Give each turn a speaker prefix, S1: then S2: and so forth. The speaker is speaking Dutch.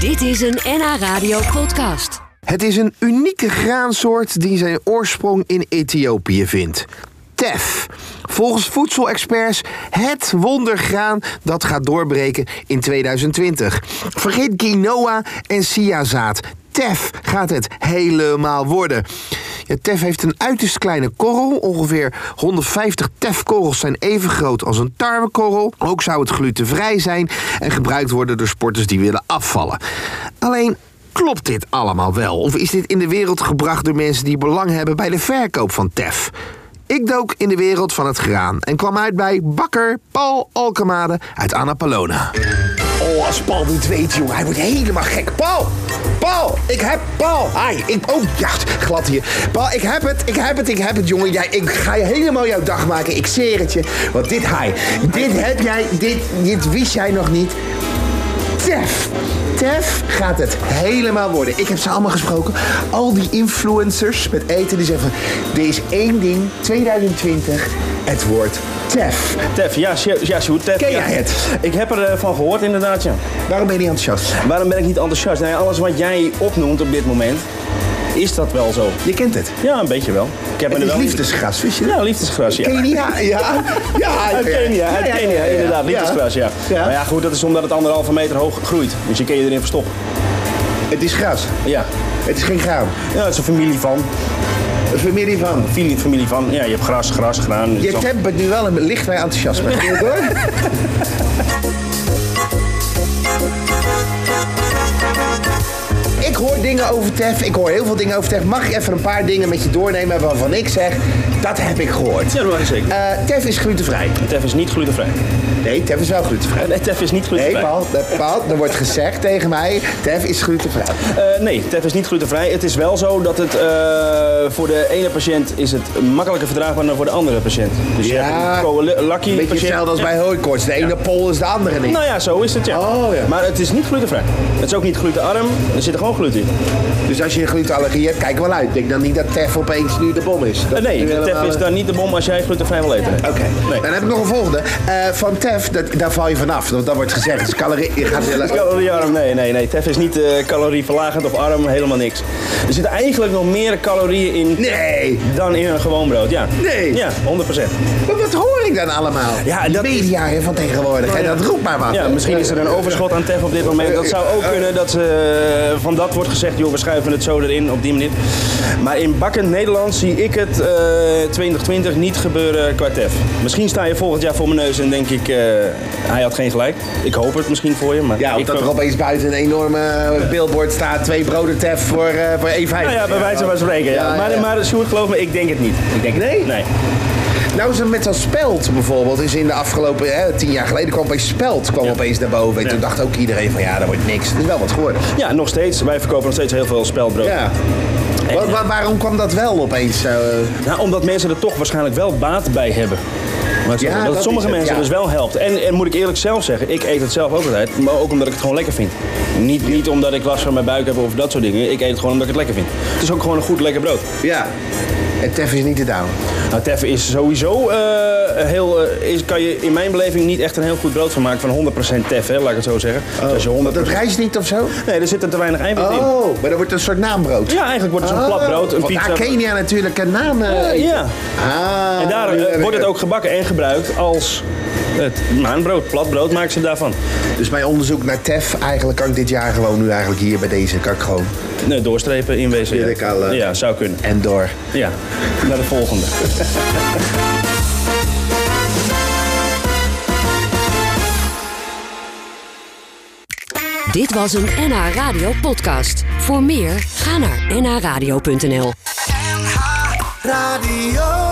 S1: Dit is een NH Radio podcast.
S2: Het is een unieke graansoort die zijn oorsprong in Ethiopië vindt. Tef. Volgens voedselexperts het wondergraan dat gaat doorbreken in 2020. Vergeet quinoa en siazaad. Tef gaat het helemaal worden. Ja, tef heeft een uiterst kleine korrel. Ongeveer 150 tefkorrels zijn even groot als een tarwekorrel. Ook zou het glutenvrij zijn en gebruikt worden door sporters die willen afvallen. Alleen Klopt dit allemaal wel? Of is dit in de wereld gebracht door mensen die belang hebben bij de verkoop van TEF? Ik dook in de wereld van het graan en kwam uit bij bakker Paul Alkemade uit Annapolona.
S3: Oh, als Paul dit weet, jongen, hij wordt helemaal gek. Paul! Paul! Ik heb Paul! Ai, ik... Oh, ja, glad hier. Paul, ik heb het, ik heb het, ik heb het, jongen. Jij, ik ga je helemaal jouw dag maken. Ik zeer het je. Want dit, hij, dit heb jij, dit, dit wist jij nog niet. Tef. Tef gaat het helemaal worden. Ik heb ze allemaal gesproken. Al die influencers met eten die zeggen van... Er is één ding, 2020, het wordt Tef.
S4: Tef, ja, Sjo- ja Sjoerd, Tef.
S3: Ken
S4: ja.
S3: jij het?
S4: Ik heb er eh, van gehoord, inderdaad, ja.
S3: Waarom ben je niet enthousiast?
S4: Waarom ben ik niet enthousiast? Nou, ja, alles wat jij opnoemt op dit moment, is dat wel zo?
S3: Je kent het.
S4: Ja, een beetje wel. Ik heb me
S3: Het
S4: er
S3: is
S4: wel
S3: liefdesgras, wist je dat?
S4: Ja, liefdesgras, ja.
S3: Kenia, ja. ja
S4: Uit Kenia, uit
S3: ja, ja,
S4: Kenia,
S3: ja, ja.
S4: inderdaad. Liefdesgras, ja.
S3: Ja.
S4: Maar ja, goed, dat is omdat het anderhalve meter hoog groeit. Dus je kan je erin verstoppen.
S3: Het is gras.
S4: Ja.
S3: Het is geen graan.
S4: Ja, het is een familie van.
S3: Het is weer meer van.
S4: Familie, familie van. Ja, je hebt gras, gras, graan.
S3: Je tempert nu wel een licht bij enthousiasme. Vind je het hoor? Ik hoor dingen over Tef, ik hoor heel veel dingen over Tef. Mag ik even een paar dingen met je doornemen waarvan ik zeg, dat heb ik gehoord.
S4: Ja, dat is zeker.
S3: Eh, Tef is glutenvrij.
S4: Tef is niet glutenvrij.
S3: Nee, Tef is wel glutenvrij.
S4: Nee, Tef is niet
S3: Nee,
S4: glutenvrij.
S3: Paul, eh, Paul, er wordt gezegd tegen mij, Tef is glutenvrij.
S4: Eh, nee, TEF is niet glutenvrij. Het is wel zo dat het eh, voor de ene patiënt is het makkelijker verdraagbaar dan voor de andere patiënt. Dus je
S3: Ja,
S4: hebt een koala-lakkie
S3: Beetje
S4: patiënt.
S3: hetzelfde als bij hooikoorts. De ene pol is de andere niet.
S4: Nou ja, zo is het ja.
S3: Oh, ja.
S4: Maar het is niet glutenvrij. Het is ook niet glutenarm. Er zit er gewoon gluten in. Eh,
S3: Dus als je een glutenallergie hebt, kijk wel uit. Denk dan niet dat Tef opeens nu de bom is. Dat
S4: Eh, nee,
S3: nu
S4: TEF
S3: helemaal-
S4: is dan niet de bom als jij glutenvrij wil eten.
S3: eh, Oké,
S4: Nee.
S3: dan heb ik nog een volgende. Eh, van Tef, dat, daar val je vanaf. Want dat wordt gezegd, dus calorie... Je gaat heel
S4: Caloriearm, nee, nee, nee. TEF is niet eh calorieverlagend of arm, helemaal niks. Er zitten eigenlijk nog meer calorieën in
S3: Nee,
S4: dan in een gewoon brood, ja.
S3: Nee.
S4: Ja, 100%.
S3: maar wat hoor ik dan allemaal?
S4: Ja, dat is-
S3: Media hè, van tegenwoordig, en dat roept maar wat.
S4: Ja, misschien is er een overschot aan TEF op dit moment. Dat zou ook kunnen dat eh, van dat wordt gezegd, joh, we schuiven het zo erin op die manier. Maar in bakkend Nederland zie ik het eh, 2020 niet gebeuren qua TEF. Misschien sta je volgend jaar voor mijn neus en denk ik, eh, hij had geen gelijk. Ik hoop het misschien voor je, maar
S3: Ja, of
S4: ik
S3: dat er
S4: hoop-
S3: opeens buiten een enorme eh, billboard staat. Twee broden Tef voor, eh voor 1,50.
S4: Nou ja, bij wijze van spreken. Ja.
S3: Ja, ja, ja.
S4: Maar, maar Sjoerd, geloof me, ik denk het niet. Ik denk het
S3: Nee?
S4: niet. Nee.
S3: Nou is het met zo'n speld bijvoorbeeld. Is in de afgelopen hè, tien jaar geleden kwam opeens speld kwam opeens naar boven. En toen dacht ook iedereen van ja, dat wordt niks. Het is wel wat geworden.
S4: Ja, nog steeds. Wij verkopen nog steeds heel veel speldbrood.
S3: Ja. Wa- wa- waarom kwam dat wel opeens? eh, zo?
S4: Nou, omdat mensen er toch waarschijnlijk wel baat bij hebben. Maar
S3: Ja,
S4: dat,
S3: dat
S4: het sommige
S3: is het,
S4: mensen
S3: ja.
S4: dus wel helpt. En, en moet ik eerlijk zelf zeggen, ik eet het zelf ook altijd. Maar ook omdat ik het gewoon lekker vind. Niet, niet omdat ik last van mijn buik heb of dat soort dingen. Ik eet het gewoon omdat ik het lekker vind. Het is ook gewoon een goed lekker brood.
S3: ja. En Tef is niet te down.
S4: Nou, teffen is sowieso eh, heel... eh, is, kan je in mijn beleving niet echt een heel goed brood van maken van 100% teff, hè, laat ik het zo zeggen. Dus als je 100...
S3: Oh. Dat rijst niet of zo?
S4: Nee, er zit er te weinig eiwit in.
S3: Oh, maar dat wordt een soort naambrood.
S4: Ja, eigenlijk wordt het zo'n plat brood, een
S3: Want
S4: pizza.
S3: daar Kenia natuurlijk een naam. eh,
S4: Eh, ja,
S3: Ah,
S4: en daar
S3: nu
S4: eh,
S3: heb ik
S4: wordt het ook gebakken en gebruikt als het maanbrood. Platbrood maken ze daarvan.
S3: Dus mijn onderzoek naar Tef, eigenlijk kan ik dit jaar gewoon nu eigenlijk hier bij deze, kan ik gewoon
S4: Nee, doorstrepen in wezen.
S3: Wil ik
S4: Ja.
S3: al, eh.
S4: ja, zou kunnen.
S3: en door.
S4: Ja, naar de volgende.
S1: Dit was een NH Radio podcast. Voor meer, ga naar nhradio.nl.
S5: NH Radio.